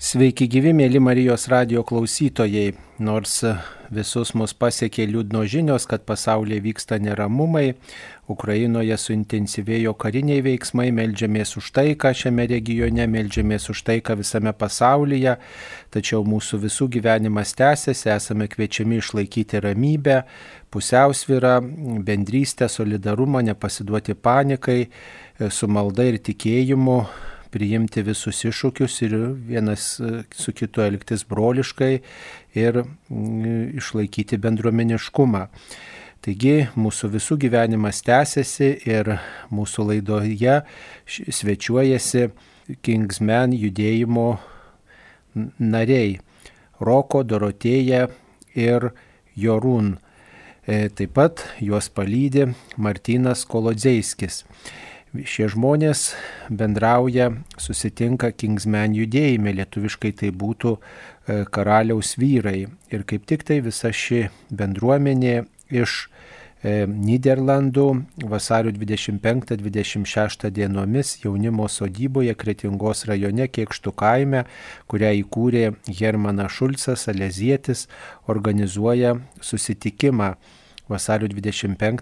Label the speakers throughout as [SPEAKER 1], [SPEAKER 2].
[SPEAKER 1] Sveiki gyvi, mėly Marijos radio klausytojai. Nors visus mus pasiekė liūdno žinios, kad pasaulyje vyksta neramumai, Ukrainoje suintensyvėjo kariniai veiksmai, melžiamės už taiką šiame regione, melžiamės už taiką visame pasaulyje, tačiau mūsų visų gyvenimas tęsiasi, esame kviečiami išlaikyti ramybę, pusiausvyrą, bendrystę, solidarumą, nepasiduoti panikai, su malda ir tikėjimu priimti visus iššūkius ir vienas e, su kitu elgtis broliškai ir išlaikyti bendruomeniškumą. Taigi mūsų visų gyvenimas tęsiasi ir mūsų laidoje svečiuojasi Kingsmen judėjimo nariai Roko, Dorotėja ir Jorūn. E, Taip pat juos palydi Martinas Kolodzeiskis. Šie žmonės bendrauja, susitinka Kingsmen judėjime, lietuviškai tai būtų e, karaliaus vyrai. Ir kaip tik tai visa ši bendruomenė iš Niderlandų e, vasario 25-26 dienomis jaunimo sodyboje Kretingos rajone Kiekštų kaime, kurią įkūrė Hermanas Šulcas, Alezietis, organizuoja susitikimą vasario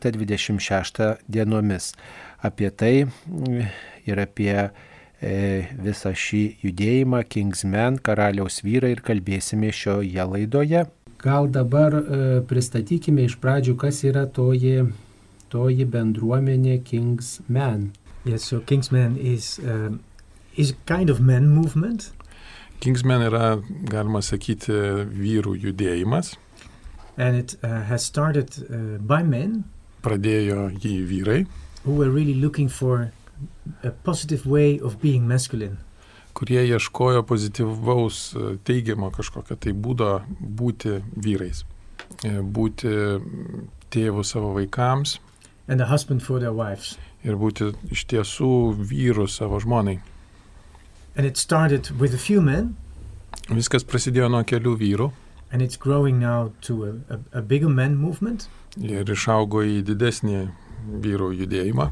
[SPEAKER 1] 25-26 dienomis. Apie tai ir apie e, visą šį judėjimą Kingsmen, karaliaus vyrai ir kalbėsime šioje laidoje. Gal dabar e, pristatykime iš pradžių, kas yra toji, toji bendruomenė Kingsmen.
[SPEAKER 2] Yes, so Kingsmen is, um, is kind of men movement.
[SPEAKER 3] Kingsmen yra, galima sakyti, vyrų judėjimas.
[SPEAKER 2] and it uh, has started uh, by men
[SPEAKER 3] Pradėjo jį vyrai,
[SPEAKER 2] who were really looking for a positive way of being masculine.
[SPEAKER 3] kurie ieškojo pozityvaus, e, teigiamo kažkokio tai būdo būti vyrais, e, būti tėvų savo vaikams
[SPEAKER 2] And a husband for their wives.
[SPEAKER 3] ir būti iš tiesų vyrų savo žmonai.
[SPEAKER 2] And it started with a few men,
[SPEAKER 3] Viskas prasidėjo nuo kelių vyrų
[SPEAKER 2] and it's growing now to a, a, a bigger men movement
[SPEAKER 3] ir išaugo į didesnį vyrų judėjimą,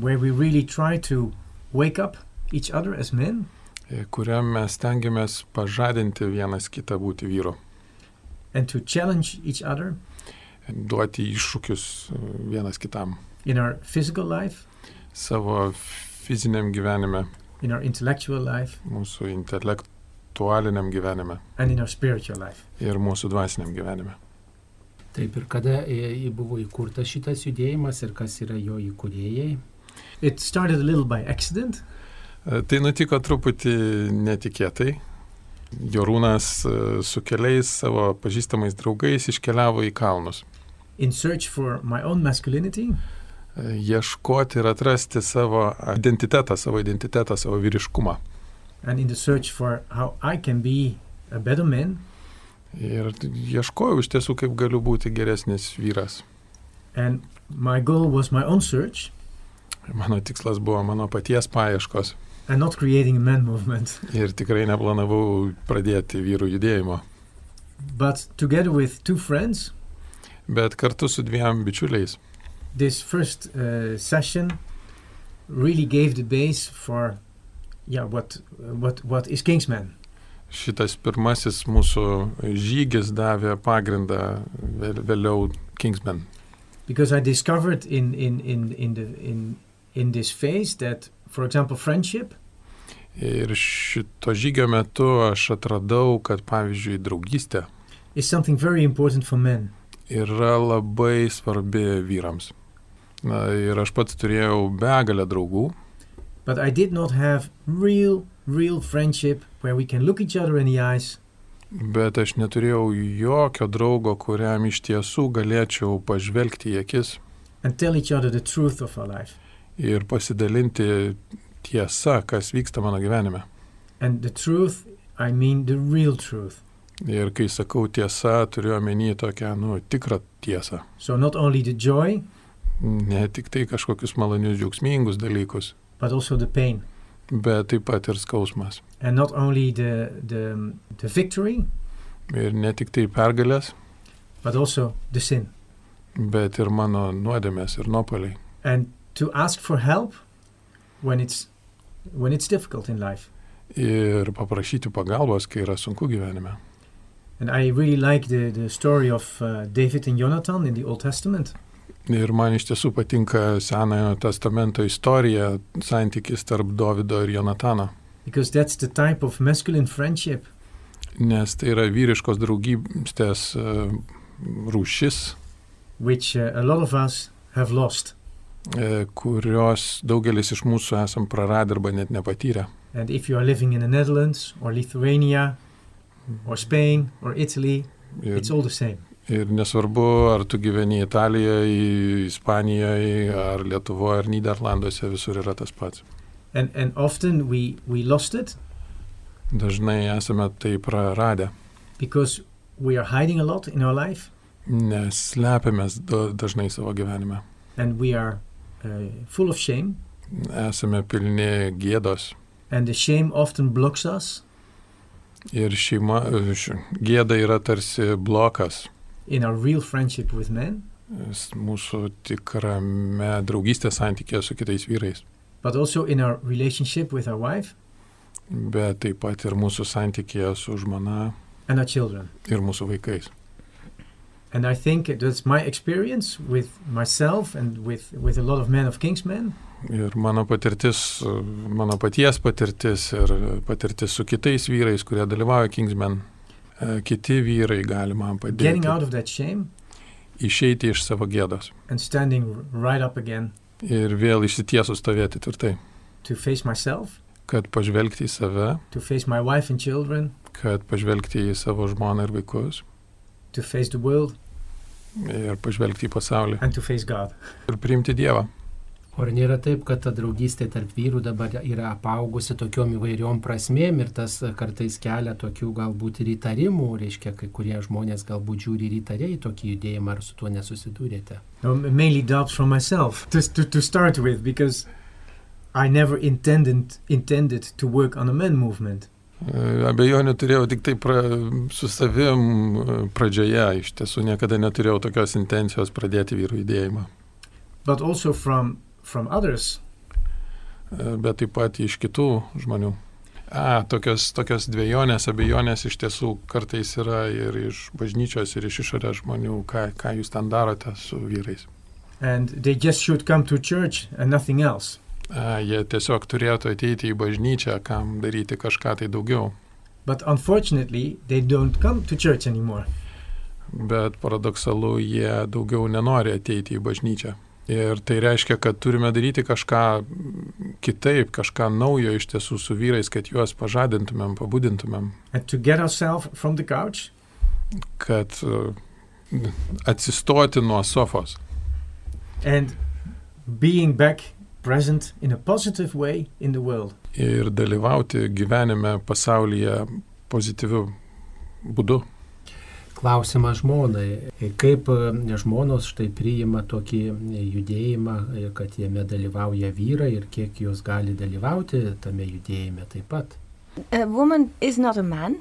[SPEAKER 2] where we really try to wake up each other as men
[SPEAKER 3] e, kuriam mes tengiamės pažadinti vienas kitą būti vyru,
[SPEAKER 2] and to challenge each other
[SPEAKER 3] duoti iššūkius e, vienas kitam
[SPEAKER 2] in our physical life,
[SPEAKER 3] savo fiziniam gyvenime,
[SPEAKER 2] in our intellectual life,
[SPEAKER 3] mūsų intelektualiniam gyvenime
[SPEAKER 2] and in our spiritual life.
[SPEAKER 3] ir mūsų dvasiniam gyvenime.
[SPEAKER 1] Taip ir kada e, buvo įkurtas šitas judėjimas ir kas yra jo įkūrėjai?
[SPEAKER 2] It started a little by accident.
[SPEAKER 3] E, Tai nutiko truputį netikėtai. Jorūnas e, su keliais savo pažįstamais draugais iškeliavo į kalnus.
[SPEAKER 2] in search for my own masculinity,
[SPEAKER 3] E, Ieškoti ir atrasti savo identitetą, savo identitetą, savo vyriškumą.
[SPEAKER 2] and in the search for how I can be a better man.
[SPEAKER 3] Ir ieškojau iš tiesų, kaip galiu būti geresnis vyras.
[SPEAKER 2] And my goal was my own search
[SPEAKER 3] Mano tikslas buvo mano paties paieškos.
[SPEAKER 2] and not creating a man movement.
[SPEAKER 3] Ir tikrai neplanavau pradėti vyrų judėjimo.
[SPEAKER 2] But together with two friends,
[SPEAKER 3] Bet kartu su dviem bičiuliais
[SPEAKER 2] this first uh, session really gave the base for yeah what what what is Kingsman.
[SPEAKER 3] šitas pirmasis mūsų žygis davė pagrindą vėl- vėliau Kingsman.
[SPEAKER 2] Because I discovered in in in in the in in this phase that for example friendship
[SPEAKER 3] Ir šito žygio metu aš atradau, kad pavyzdžiui draugystė
[SPEAKER 2] is something very important for men.
[SPEAKER 3] yra labai svarbi vyrams. Na ir aš pats turėjau begalę draugų,
[SPEAKER 2] But I did not have real, real friendship where we can look each other in the eyes
[SPEAKER 3] bet aš neturėjau jokio draugo, kuriam iš tiesų galėčiau pažvelgti į akis
[SPEAKER 2] and tell each other the truth of our life.
[SPEAKER 3] ir pasidalinti tiesa, kas vyksta mano gyvenime.
[SPEAKER 2] And the truth, I mean the real truth.
[SPEAKER 3] Ir kai sakau tiesa, turiu omeny tokią, nu, tikrą tiesą.
[SPEAKER 2] So not only the joy,
[SPEAKER 3] Ne tik tai kažkokius malonius džiaugsmingus dalykus,
[SPEAKER 2] but also the pain.
[SPEAKER 3] bet taip pat ir skausmas.
[SPEAKER 2] And not only the, the, um, the victory,
[SPEAKER 3] Ir ne tik tai pergalės,
[SPEAKER 2] but also the sin.
[SPEAKER 3] bet ir mano nuodėmės ir nuopaliai.
[SPEAKER 2] And to ask for help when it's, when it's difficult in life.
[SPEAKER 3] ir paprašyti pagalbos, kai yra sunku gyvenime.
[SPEAKER 2] And I really like the, the story of uh, David and Jonathan in the Old Testament.
[SPEAKER 3] Ir man iš tiesų patinka Senojo testamento istorija, santykis tarp Davido ir Jonatano,
[SPEAKER 2] Because that's the type of masculine friendship.
[SPEAKER 3] nes tai yra vyriškos draugystės e, rūšis,
[SPEAKER 2] which uh, a lot of us have lost.
[SPEAKER 3] e, kurios daugelis iš mūsų esam praradę arba net nepatyrę.
[SPEAKER 2] And if you are living in the Netherlands or Lithuania or Spain or Italy,
[SPEAKER 3] Ir,
[SPEAKER 2] it's all the same.
[SPEAKER 3] ir nesvarbu, ar tu gyveni Italijoje, Ispanijoje, ar Lietuvoje, ar Niderlanduose, visur yra tas pats.
[SPEAKER 2] And, and often we, we lost it
[SPEAKER 3] Dažnai esame tai praradę,
[SPEAKER 2] because we are hiding a lot in our life
[SPEAKER 3] nes slepiamės da- dažnai savo gyvenime.
[SPEAKER 2] and we are uh, full of shame.
[SPEAKER 3] Esame pilni gėdos,
[SPEAKER 2] And the shame often blocks us
[SPEAKER 3] Ir šeima, š- gėda yra tarsi blokas
[SPEAKER 2] in our real friendship with men,
[SPEAKER 3] s- mūsų tikrame draugystės santykėje su kitais vyrais,
[SPEAKER 2] but also in our relationship with our wife
[SPEAKER 3] bet taip pat ir mūsų santykėje su žmona
[SPEAKER 2] and our children.
[SPEAKER 3] ir mūsų vaikais.
[SPEAKER 2] And I think that's my experience with myself and with, with a lot of men of Kingsmen.
[SPEAKER 3] Ir mano patirtis, e, mano paties patirtis ir e, patirtis su kitais vyrais, kurie dalyvauja Kingsman, e, kiti vyrai gali man
[SPEAKER 2] Getting
[SPEAKER 3] padėti
[SPEAKER 2] out of that shame
[SPEAKER 3] išeiti iš savo gėdos
[SPEAKER 2] and standing r- right up again
[SPEAKER 3] ir vėl išsitiesus stovėti tvirtai,
[SPEAKER 2] to face myself,
[SPEAKER 3] kad pažvelgti į save,
[SPEAKER 2] to face my wife and children,
[SPEAKER 3] kad pažvelgti į savo žmoną ir vaikus.
[SPEAKER 2] to face the world,
[SPEAKER 3] ir pažvelgti į pasaulį
[SPEAKER 2] and to face God.
[SPEAKER 3] ir priimti Dievą.
[SPEAKER 1] O ar nėra taip, kad ta draugystė tarp vyrų dabar yra apaugusi tokiom įvairiom prasmėm ir tas e, kartais kelia tokių galbūt ir įtarimų, reiškia, kai kurie žmonės galbūt žiūri ir įtariai į tokį judėjimą, ar su tuo nesusidūrėte.
[SPEAKER 2] No, m- mainly doubts from myself to, to, to start with, because I never intended intended to work on a men movement.
[SPEAKER 3] E, Abejonių turėjau tik tai pra, su savim e, pradžioje, iš tiesų niekada neturėjau tokios intencijos pradėti vyrų judėjimą,
[SPEAKER 2] But also from from others.
[SPEAKER 3] E, bet taip pat iš kitų žmonių. A, tokios, tokios dviejonės, abejonės iš tiesų kartais yra ir iš bažnyčios, ir iš išorės žmonių, ką, ką jūs ten darote su vyrais.
[SPEAKER 2] And they just should come to church and nothing else.
[SPEAKER 3] A, jie tiesiog turėtų ateiti į bažnyčią, kam daryti kažką tai daugiau.
[SPEAKER 2] But unfortunately, they don't come to church anymore.
[SPEAKER 3] bet paradoksalu jie daugiau nenori ateiti į bažnyčią. Ir tai reiškia, kad turime daryti kažką kitaip, kažką naujo iš tiesų su vyrais, kad juos pažadintumėm, pabudintumėm,
[SPEAKER 2] And to get ourselves from the couch
[SPEAKER 3] kad e, atsistoti nuo sofos
[SPEAKER 2] and being back present in a positive way in the world.
[SPEAKER 3] ir dalyvauti gyvenime pasaulyje pozityviu būdu.
[SPEAKER 1] Klausimas žmonai, kaip e, žmonos štai priima tokį e, judėjimą, e, kad jame dalyvauja vyrai ir kiek jos gali dalyvauti tame judėjime taip pat.
[SPEAKER 4] A woman is not a man.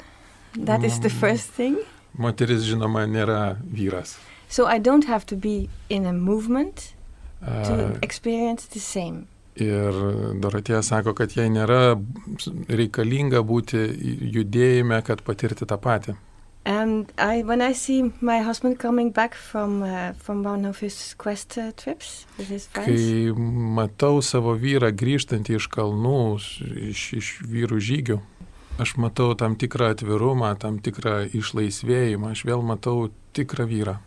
[SPEAKER 4] That is the
[SPEAKER 3] Mm.
[SPEAKER 4] first thing.
[SPEAKER 3] Moteris, žinoma, nėra vyras.
[SPEAKER 4] So I don't have to be in a movement
[SPEAKER 3] E,
[SPEAKER 4] to experience the same.
[SPEAKER 3] Ir Dorotėja sako, kad jai nėra reikalinga būti judėjime, kad patirti tą patį.
[SPEAKER 4] And I, when I see my husband coming back from uh, from one of his quest uh, trips with his
[SPEAKER 3] Kai
[SPEAKER 4] friends,
[SPEAKER 3] matau savo vyrą grįžtantį iš kalnų, s- iš, iš vyrų žygių, aš matau tam tikrą atvirumą, tam tikrą išlaisvėjimą, aš vėl matau tikrą vyrą.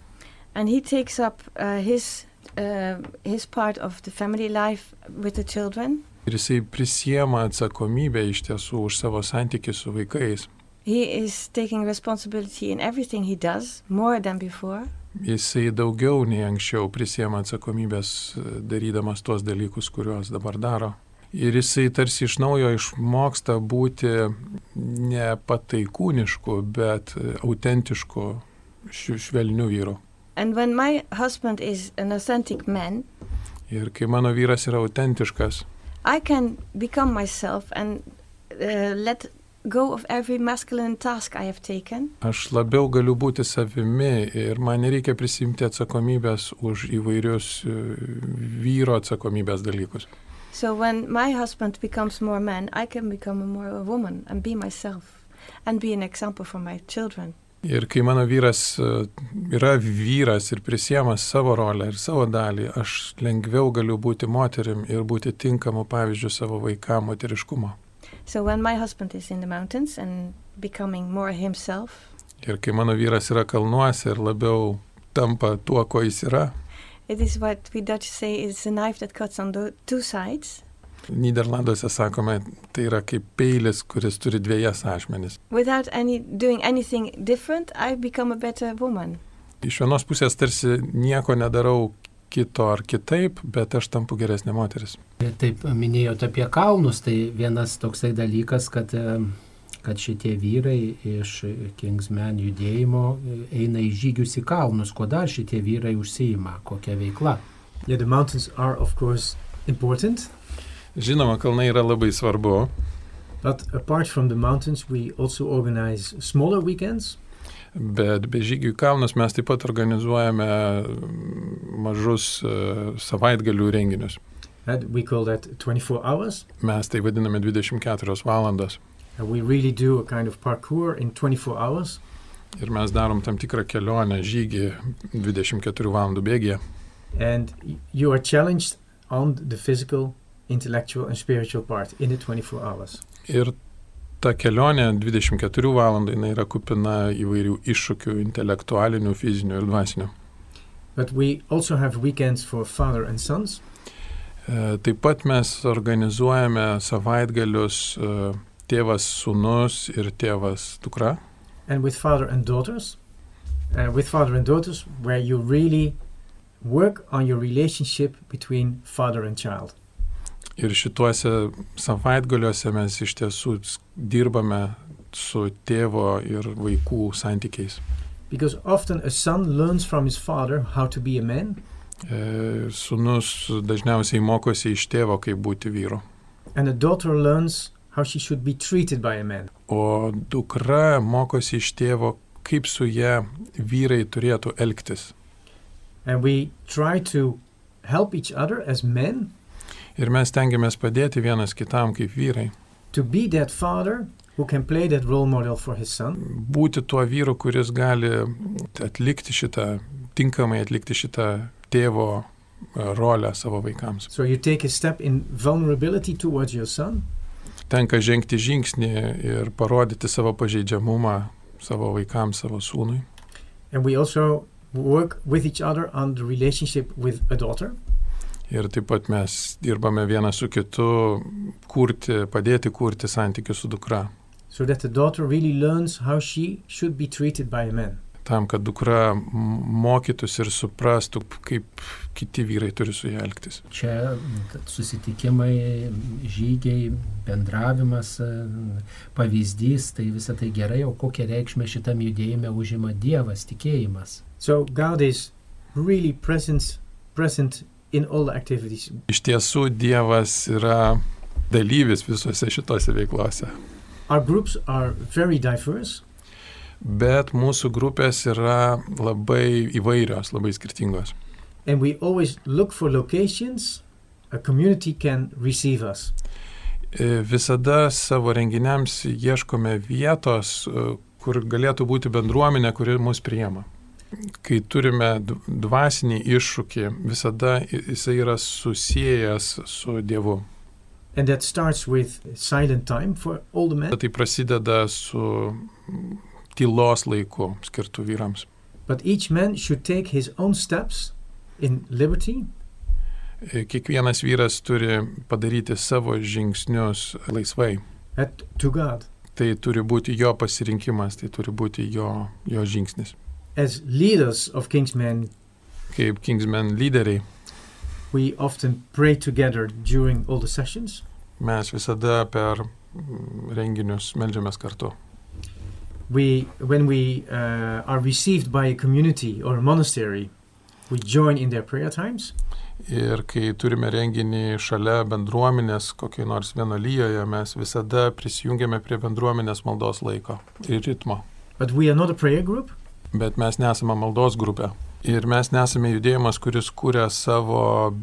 [SPEAKER 4] and he takes up uh, his uh, his part of the family life with the children.
[SPEAKER 3] Ir jisai prisiema atsakomybę iš tiesų už savo santykių su vaikais.
[SPEAKER 4] He is taking responsibility in everything he does more than before.
[SPEAKER 3] Jisai daugiau nei anksčiau prisėmė atsakomybės e, darydamas tuos dalykus, kuriuos dabar daro. Ir jisai tarsi iš naujo išmoksta būti ne pataikūnišku, bet e, autentišku, š- švelniu vyru.
[SPEAKER 4] And when my husband is an authentic man,
[SPEAKER 3] Ir kai mano vyras yra autentiškas,
[SPEAKER 4] I can become myself and uh, let go of every masculine task I have taken.
[SPEAKER 3] aš labiau galiu būti savimi ir man nereikia prisimti atsakomybės už įvairius e, vyro atsakomybės dalykus.
[SPEAKER 4] So when my husband becomes more man, I can become a more a woman and be myself and be an example for my children.
[SPEAKER 3] Ir kai mano vyras e, yra vyras ir prisėmęs savo rolę ir savo dalį, aš lengviau galiu būti moterim ir būti tinkamu pavyzdžiu savo vaikam moteriškumo.
[SPEAKER 4] So when my husband is in the mountains and becoming more himself,
[SPEAKER 3] Ir kai mano vyras yra kalnuose ir labiau tampa tuo, ko jis yra,
[SPEAKER 4] it is what we Dutch say is a knife that cuts on the two sides.
[SPEAKER 3] Niderlanduose sakome, tai yra kaip peilis, kuris turi dviejas ašmenis.
[SPEAKER 4] Without any doing anything different, I become a better woman.
[SPEAKER 3] Iš vienos pusės tarsi nieko nedarau kito ar kitaip, bet aš tampu geresnė moteris.
[SPEAKER 1] Ir Taip minėjote apie kalnus, tai vienas toksai dalykas, kad, e, kad šitie vyrai iš Kingsmen judėjimo e, eina į žygius į kalnus, ko dar šitie vyrai užsiima, kokia veikla.
[SPEAKER 2] Yeah, the mountains are, of course, important.
[SPEAKER 3] Žinoma, kalnai yra labai svarbu,
[SPEAKER 2] But apart from the mountains, we also organize smaller weekends.
[SPEAKER 3] bet be žygių į kalnus mes taip pat organizuojame mm, mažus e, savaitgalių renginius.
[SPEAKER 2] And Uh, we call that 24 hours.
[SPEAKER 3] Mes tai vadiname 24 valandos.
[SPEAKER 2] And we really do a kind of parkour in 24 hours.
[SPEAKER 3] Ir mes darom tam tikrą kelionę, žygį 24 valandų bėgėje.
[SPEAKER 2] And y- you are challenged on the physical, intellectual, and spiritual part in the 24 hours.
[SPEAKER 3] Ir ta kelionė 24 valandų jinai yra kupina įvairių iššūkių, intelektualinių, fizinių ir dvasinių.
[SPEAKER 2] But we also have weekends for father and sons.
[SPEAKER 3] E, Taip pat mes organizuojame savaitgalius e, tėvas sūnus ir tėvas dukra.
[SPEAKER 2] and with father and daughters. Uh, with father and daughters, where you really work on your relationship between father and child.
[SPEAKER 3] Ir šituose savaitgaliuose mes iš tiesų s- dirbame su tėvo ir vaikų santykiais.
[SPEAKER 2] Because often a son learns from his father how to be a man,
[SPEAKER 3] E, Sūnus dažniausiai mokosi iš tėvo, kaip būti vyru.
[SPEAKER 2] and a daughter learns how she should be treated by a man.
[SPEAKER 3] o dukra mokosi iš tėvo, kaip su ją vyrai turėtų elgtis.
[SPEAKER 2] And we try to help each other as men
[SPEAKER 3] Ir mes tengiamės padėti vienas kitam kaip vyrai.
[SPEAKER 2] to be that father who can play that role model for his son,
[SPEAKER 3] Būti tuo vyru, kuris gali atlikti šitą, tinkamai atlikti šitą tėvo e, rolę savo vaikams.
[SPEAKER 2] so you take a step in vulnerability towards your son,
[SPEAKER 3] Tenka žengti žingsnį ir parodyti savo pažeidžiamumą savo vaikams, savo sūnui.
[SPEAKER 2] and we also work with each other on the relationship with a daughter.
[SPEAKER 3] Ir taip pat mes dirbame vienas su kitu, kurti, padėti kurti santykius su dukra.
[SPEAKER 2] so that the daughter really learns how she should be treated by a man.
[SPEAKER 3] tam, kad dukra m- mokytųsi ir suprastų, kaip kiti vyrai turi su ja elgtis.
[SPEAKER 1] Čia t- susitikimai, žygiai, bendravimas, e, pavyzdys, tai visą tai gerai, o kokią reikšmę šitam judėjime užima Dievas, tikėjimas.
[SPEAKER 2] So God is really present, present in all the activities.
[SPEAKER 3] Iš tiesų Dievas yra dalyvis visose šitose veiklose,
[SPEAKER 2] Our groups are very diverse,
[SPEAKER 3] bet mūsų grupės yra labai įvairios, labai skirtingos.
[SPEAKER 2] and we always look for locations a community can receive us.
[SPEAKER 3] E, Visada savo renginiams ieškome vietos, e, kur galėtų būti bendruomenė, kuri mus priema. Kai turime d- dvasinį iššūkį, visada i- jisai yra susijęs su Dievu.
[SPEAKER 2] And that starts with silent time for all the men,
[SPEAKER 3] Tai prasideda su mm, tylos laiku skirtų vyrams.
[SPEAKER 2] but each man should take his own steps in liberty
[SPEAKER 3] E, Kiekvienas vyras turi padaryti savo žingsnius laisvai.
[SPEAKER 2] at, to God
[SPEAKER 3] Tai turi būti jo pasirinkimas, tai turi būti jo, jo žingsnis.
[SPEAKER 2] as leaders of Kingsmen
[SPEAKER 3] Kaip Kingsmen lyderiai
[SPEAKER 2] We often pray together during all the sessions,
[SPEAKER 3] mes visada per mm, renginius melžiamės kartu.
[SPEAKER 2] we when we uh, are received by a community or a monastery we join in their prayer times
[SPEAKER 3] Ir kai turime renginį šalia bendruomenės, kokiai nors vienolyjoje, mes visada prisijungiame prie bendruomenės maldos laiko ir ritmo.
[SPEAKER 2] but we are not a prayer group
[SPEAKER 3] bet mes nesame maldos grupė. Ir mes nesame judėjimas, kuris kūrė savo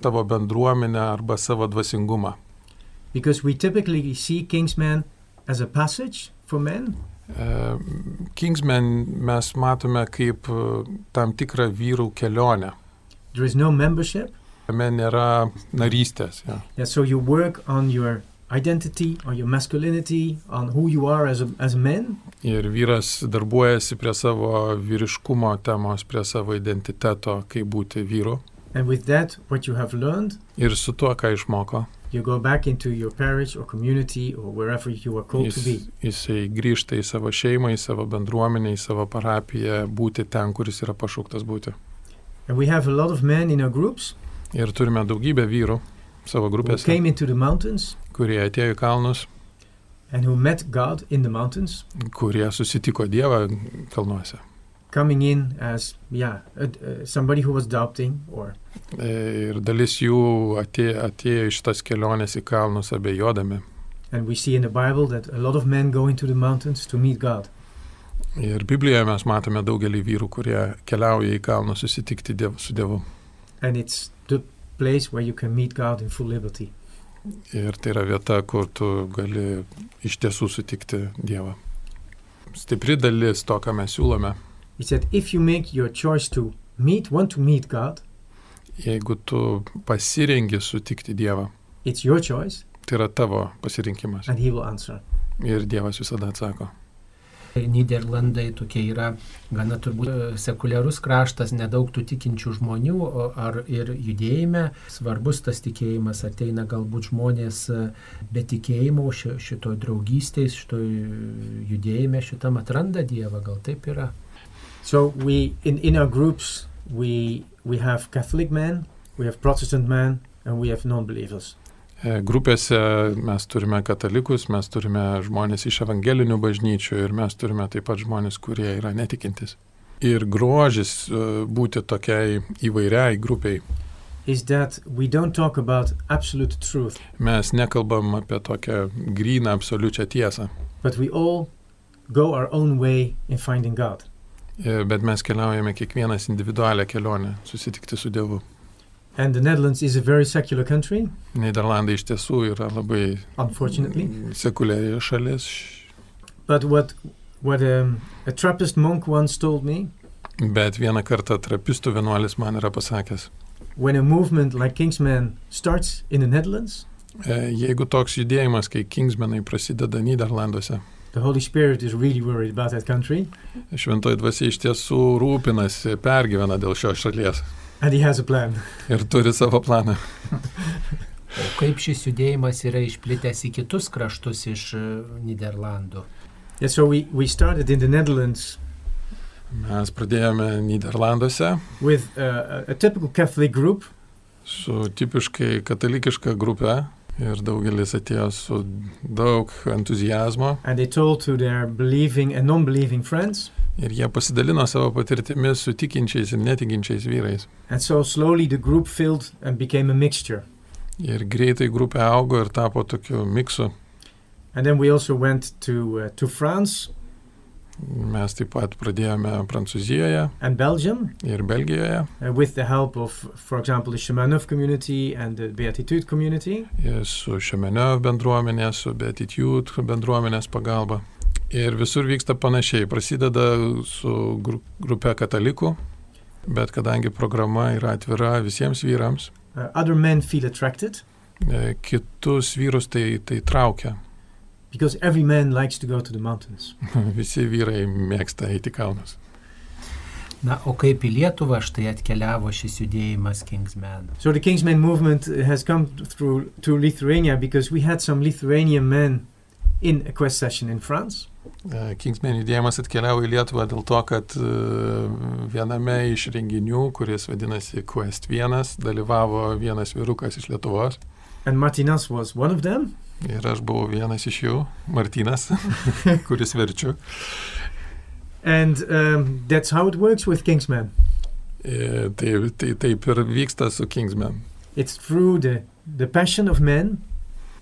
[SPEAKER 3] tavo bendruomenę arba savo dvasingumą.
[SPEAKER 2] Because we typically see Kingsman as a passage for men,
[SPEAKER 3] E, Kingsman mes matome kaip e, tam tikrą vyrų kelionę.
[SPEAKER 2] there is no membership.
[SPEAKER 3] Jame nėra narystės. Ja.
[SPEAKER 2] Yeah, so you work on your identity, on your masculinity, on who you are as, a, as men.
[SPEAKER 3] Ir vyras darbuojasi prie savo vyriškumo temos, prie savo identiteto, kaip būti vyru.
[SPEAKER 2] And with that, what you have learned,
[SPEAKER 3] Ir su tuo, ką išmoko,
[SPEAKER 2] you go back into your parish or community or wherever you are called to be.
[SPEAKER 3] jis, jisai grįžta į savo šeimą, į savo bendruomenę, į savo parapiją, būti ten, kuris yra pašauktas būti.
[SPEAKER 2] And we have a lot of men in our groups
[SPEAKER 3] Ir turime daugybę vyrų savo
[SPEAKER 2] who
[SPEAKER 3] grupėse,
[SPEAKER 2] came into the mountains
[SPEAKER 3] kurie atėjo į kalnus,
[SPEAKER 2] and who met God in the mountains,
[SPEAKER 3] kurie susitiko Dievą kalnuose.
[SPEAKER 2] coming in as yeah a, uh, somebody who was doubting or
[SPEAKER 3] E, Ir dalis jų atėjo, atėjo iš tas kelionės į kalnus abejodami.
[SPEAKER 2] and we see in the Bible that a lot of men go into the mountains to meet God.
[SPEAKER 3] Ir Biblijoje mes matome daugelį vyrų, kurie keliauja į kalnus susitikti diev, su Dievu.
[SPEAKER 2] And it's the place where you can meet God in full liberty.
[SPEAKER 3] Ir tai yra vieta, kur tu gali iš tiesų sutikti Dievą. Stipri dalis to, ką mes siūlome,
[SPEAKER 2] He said, if you make your choice to meet, want to meet God,
[SPEAKER 3] jeigu tu pasirengi sutikti Dievą,
[SPEAKER 2] it's your choice,
[SPEAKER 3] tai yra tavo pasirinkimas.
[SPEAKER 2] and He will answer.
[SPEAKER 3] Ir Dievas visada atsako.
[SPEAKER 1] Niderlandai tokie yra gana turbūt e, sekuliarus kraštas, nedaug tų tikinčių žmonių, o ar ir judėjime svarbus tas tikėjimas ateina galbūt žmonės e, be tikėjimo, ši- šitoj draugystės, šitoj e, judėjime, šitam atranda Dievą, gal taip yra.
[SPEAKER 2] So we in, in our groups we we have Catholic men, we have Protestant men, and we have non-believers.
[SPEAKER 3] E, Grupėse mes turime katalikus, mes turime žmonės iš evangelinių bažnyčių ir mes turime taip pat žmonės, kurie yra netikintis. Ir grožis e, būti tokiai įvairiai grupiai.
[SPEAKER 2] Is that we don't talk about absolute truth,
[SPEAKER 3] Mes nekalbam apie tokią gryną absoliučią tiesą,
[SPEAKER 2] but we all go our own way in finding God.
[SPEAKER 3] e, bet mes keliaujame kiekvienas individualią kelionę susitikti su Dievu.
[SPEAKER 2] And the Netherlands is a very secular country,
[SPEAKER 3] Niderlandai iš tiesų yra labai
[SPEAKER 2] unfortunately.
[SPEAKER 3] sekuliari šalis,
[SPEAKER 2] But what what um, a Trappist monk once told me,
[SPEAKER 3] bet vieną kartą trapistų vienuolis man yra pasakęs,
[SPEAKER 2] when a movement like Kingsman starts in the Netherlands,
[SPEAKER 3] E, Jeigu toks judėjimas, kai Kingsmenai prasideda Niderlanduose,
[SPEAKER 2] the Holy Spirit is really worried about that country,
[SPEAKER 3] šventoji dvasia iš tiesų rūpinasi, pergyvena dėl šios šalies
[SPEAKER 2] and he has a plan.
[SPEAKER 3] ir turi savo planą.
[SPEAKER 1] O kaip šis judėjimas yra išplitęs į kitus kraštus iš e, Niderlandų?
[SPEAKER 2] Yeah, so we, we started in the Netherlands
[SPEAKER 3] Mes pradėjome Niderlanduose
[SPEAKER 2] with uh, a a typical Catholic group,
[SPEAKER 3] su tipiškai katalikiška grupe ir daugelis atėjo su daug entuzijazmo
[SPEAKER 2] and they told to their believing and non believing friends.
[SPEAKER 3] ir jie pasidalino savo patirtimis su tikinčiais ir netikinčiais vyrais.
[SPEAKER 2] And so slowly the group filled and became a mixture.
[SPEAKER 3] Ir greitai grupė augo ir tapo tokiu miksu.
[SPEAKER 2] And then we also went to, uh, to France
[SPEAKER 3] Mes taip pat pradėjome Prancūzijoje
[SPEAKER 2] and Belgium
[SPEAKER 3] ir Belgijoje.
[SPEAKER 2] uh, with the help of, for example, the Shamanov community and the Beatitude community.
[SPEAKER 3] su Šemenio bendruomenė, su Beatitude bendruomenės pagalba. Ir visur vyksta panašiai. Prasideda su gru- grupe katalikų, bet kadangi programa yra atvira visiems vyrams,
[SPEAKER 2] Uh, other men feel attracted
[SPEAKER 3] e, kitus vyrus tai, tai traukia.
[SPEAKER 2] because every man likes to go to the mountains.
[SPEAKER 3] Visi vyrai mėgsta eiti į kalnus.
[SPEAKER 1] Na, o kaip į Lietuvą štai atkeliavo šis judėjimas Kingsman?
[SPEAKER 2] So the Kingsmen movement has come through to Lithuania because we had some Lithuanian men in a quest session in France.
[SPEAKER 3] E, Kingsman judėjimas atkeliavo į Lietuvą dėl to, kad e, viename iš renginių, kuris vadinasi Quest 1, dalyvavo vienas vyrukas iš Lietuvos.
[SPEAKER 2] And Martinez was one of them.
[SPEAKER 3] Ir aš buvau vienas iš jų, Martinas, kuris verčiu.
[SPEAKER 2] And um, that's how it works with Kingsman.
[SPEAKER 3] E, Tai, tai taip ir vyksta su Kingsman.
[SPEAKER 2] It's through the, the passion of men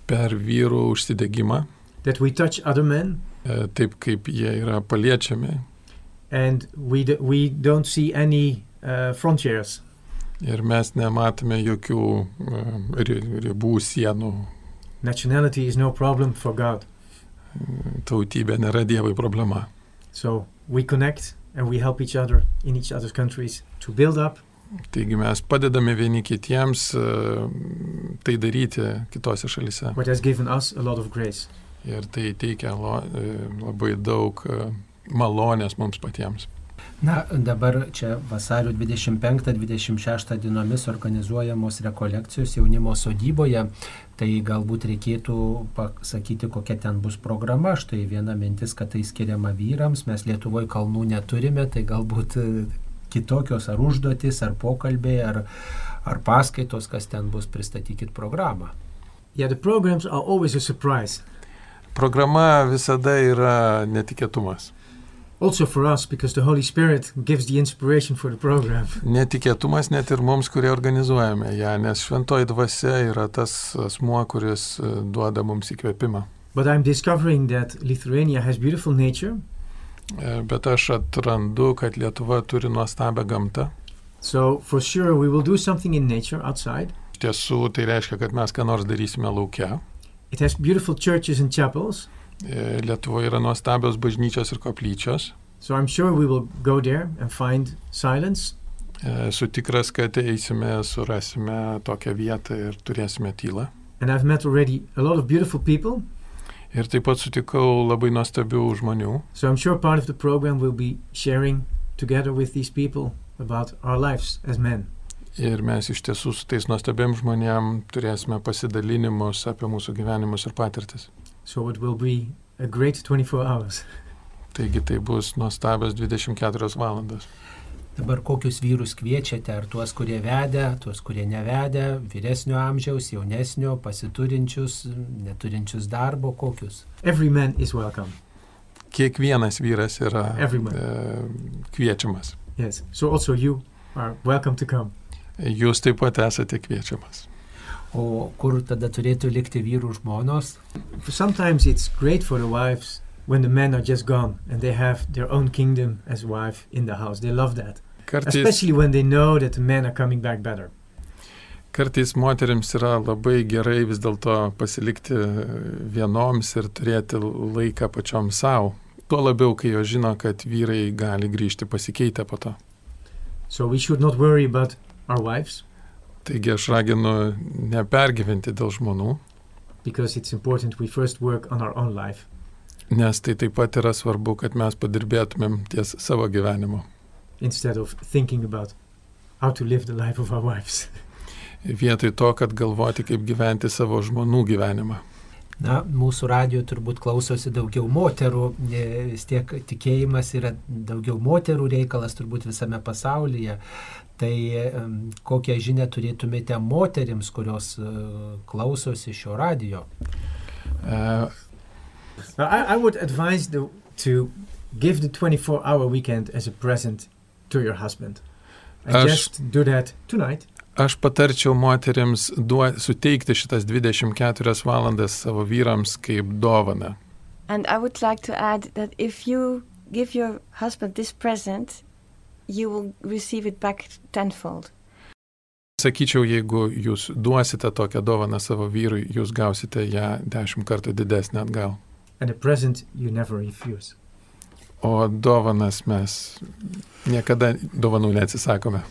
[SPEAKER 3] Per vyrų užsidegimą,
[SPEAKER 2] that we touch other men
[SPEAKER 3] e, taip kaip jie yra paliečiami.
[SPEAKER 2] and we, d- we don't see any uh, frontiers.
[SPEAKER 3] Ir mes nematome jokių e, ri- ribų, sienų.
[SPEAKER 2] Nationality is no problem for God.
[SPEAKER 3] Tautybė nėra Dievui problema.
[SPEAKER 2] So we connect and we help each other in each other's countries to build up
[SPEAKER 3] Taigi mes padedame vieni kitiems e, tai daryti kitose šalise.
[SPEAKER 2] what has given us a lot of grace.
[SPEAKER 3] Ir tai teikia lo, e, labai daug e, malonės mums patiems.
[SPEAKER 1] Na, dabar čia vasario 25-26 dienomis organizuojamos rekolekcijos jaunimo sodyboje, tai galbūt reikėtų pasakyti, kokia ten bus programa. Štai viena mintis, kad tai skiriama vyrams, mes Lietuvoje kalnų neturime, tai galbūt e, kitokios ar užduotis, ar pokalbiai, ar, ar paskaitos, kas ten bus, pristatykit programą.
[SPEAKER 2] Yeah, the programs are always a surprise,
[SPEAKER 3] Programa visada yra netikėtumas.
[SPEAKER 2] also for us because the Holy Spirit gives the inspiration for the program.
[SPEAKER 3] Netikėtumas net ir mums, kurie organizuojame ją, nes šventoji dvasia yra tas asmuo, kuris e, duoda mums įkvėpimą.
[SPEAKER 2] But I'm discovering that Lithuania has beautiful nature,
[SPEAKER 3] E, Bet aš atrandu, kad Lietuva turi nuostabią gamtą.
[SPEAKER 2] so for sure we will do something in nature outside.
[SPEAKER 3] Iš tiesų, tai reiškia, kad mes ką nors darysime laukia.
[SPEAKER 2] It has beautiful churches and chapels,
[SPEAKER 3] Lietuvoje E, yra nuostabios bažnyčios ir koplyčios.
[SPEAKER 2] so I'm sure we will go there and find silence.
[SPEAKER 3] E, Esu tikras, kad eisime, surasime tokią vietą ir turėsime tylą.
[SPEAKER 2] And I've met already a lot of beautiful people,
[SPEAKER 3] Ir taip pat sutikau labai nuostabių žmonių.
[SPEAKER 2] so I'm sure part of the program will be sharing together with these people about our lives as men.
[SPEAKER 3] Ir mes iš tiesų su tais nuostabiem žmonėm turėsime pasidalinimus apie mūsų gyvenimus ir patirtis.
[SPEAKER 2] So it will be a great 24 hours.
[SPEAKER 3] Taigi tai bus nuostabios 24 valandos.
[SPEAKER 1] Dabar kokius vyrus kviečiate, ar tuos, kurie vedę, tuos, kurie nevedę, vyresnio amžiaus, jaunesnio, pasiturinčius, neturinčius darbo, kokius?
[SPEAKER 2] Every man is welcome.
[SPEAKER 3] Kiekvienas vyras yra
[SPEAKER 2] Everyone.
[SPEAKER 3] E, kviečiamas.
[SPEAKER 2] Yes. So also you are welcome to come.
[SPEAKER 3] Jūs taip pat esate kviečiamas.
[SPEAKER 1] O kur tada turėtų likti vyrų žmonos?
[SPEAKER 2] Sometimes it's great for the wives when the men are just gone and they have their own kingdom as wife in the house. They love that.
[SPEAKER 3] Kartais,
[SPEAKER 2] Especially when they know that the men are coming back better.
[SPEAKER 3] kartais moteriams yra labai gerai vis dėlto pasilikti vienoms ir turėti laiką pačiom savo. Tuo labiau, kai jos žino, kad vyrai gali grįžti pasikeitę po to.
[SPEAKER 2] So we should not worry about our wives
[SPEAKER 3] Taigi aš raginu nepergyventi dėl žmonų,
[SPEAKER 2] because it's important we first work on our own life.
[SPEAKER 3] nes tai taip pat yra svarbu, kad mes padirbėtumėm ties savo gyvenimu.
[SPEAKER 2] instead of thinking about how to live the life of our wives.
[SPEAKER 3] Vietoj to, kad galvoti, kaip gyventi savo žmonų gyvenimą.
[SPEAKER 1] Na, mūsų radio turbūt klausosi daugiau moterų, e, vis tiek tikėjimas yra daugiau moterų reikalas turbūt visame pasaulyje. Tai em, kokią žinę turėtumėte moterims, kurios e, klausosi šio radio?
[SPEAKER 3] E,
[SPEAKER 2] now, I, I would advise the, to give the 24 hour weekend as a present to your husband. And
[SPEAKER 3] As-
[SPEAKER 2] just do that tonight.
[SPEAKER 3] Aš patarčiau moteriams duo, suteikti šitas 24 valandas savo vyrams kaip dovana.
[SPEAKER 4] And I would like to add that if you give your husband this present, you will receive it back tenfold.
[SPEAKER 3] Sakyčiau, jeigu jūs duosite tokią dovaną savo vyrui, jūs gausite ją dešimt kartų didesnį atgal.
[SPEAKER 2] And a present you never refuse.
[SPEAKER 3] O dovanas mes niekada dovanų neatsisakome.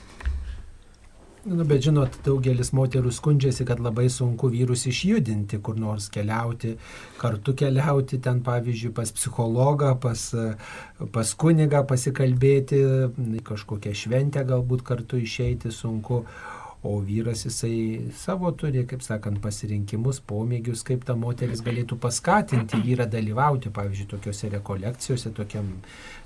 [SPEAKER 1] Nu, bet žinot, daugelis moterų skundžiasi, kad labai sunku vyrus išjudinti, kur nors keliauti, kartu keliauti, ten pavyzdžiui, pas psichologą, pas, e, pas kunigą pasikalbėti, į kažkokią šventę galbūt kartu išeiti sunku, o vyras jisai savo turi, kaip sakant, pasirinkimus, pomėgius, kaip ta moteris galėtų paskatinti vyrą dalyvauti, pavyzdžiui, tokiuose rekolekcijose, tokiam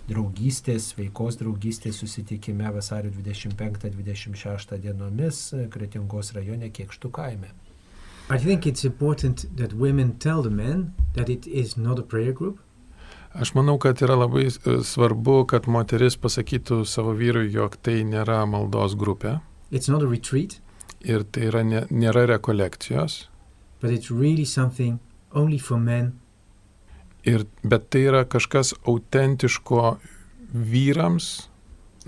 [SPEAKER 1] draugystės, veikos draugystės susitikime vasario 25-26 dienomis e, Kretingos rajone Kiekštų kaime.
[SPEAKER 2] I think it's important that women tell the men that it is not a prayer group.
[SPEAKER 3] Aš manau, kad yra labai e, svarbu, kad moteris pasakytų savo vyrui, jog tai nėra maldos grupė
[SPEAKER 2] It's not a retreat,
[SPEAKER 3] ir tai yra ne, nėra rekolekcijos,
[SPEAKER 2] but it's really something only for men.
[SPEAKER 3] ir, bet tai yra kažkas autentiško vyrams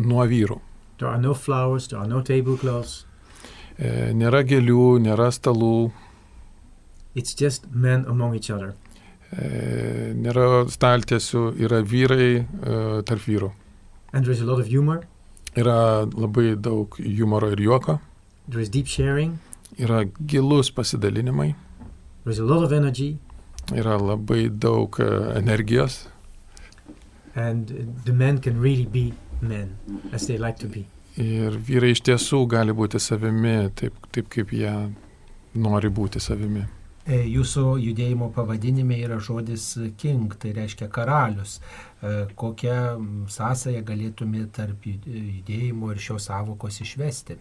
[SPEAKER 3] nuo vyrų.
[SPEAKER 2] There are no flowers, there are no tablecloths.
[SPEAKER 3] E, Nėra gėlių, nėra stalų,
[SPEAKER 2] It's just men among each other.
[SPEAKER 3] e, nėra staltiesių, yra vyrai e, tarp vyrų.
[SPEAKER 2] And there is a lot of humor,
[SPEAKER 3] Yra labai daug humoro ir juoko,
[SPEAKER 2] there is deep sharing,
[SPEAKER 3] yra gilus pasidalinimai,
[SPEAKER 2] there is a lot of energy,
[SPEAKER 3] yra labai daug e, energijos
[SPEAKER 2] and uh, the men can really be men as they like to be.
[SPEAKER 3] ir vyrai iš tiesų gali būti savimi, taip, taip kaip jie nori būti savimi.
[SPEAKER 1] E, Jūsų judėjimo pavadinime yra žodis king, tai reiškia karalius. E, Kokią mm, sąsają galėtume tarp jud- e, judėjimo ir šios savokos išvesti?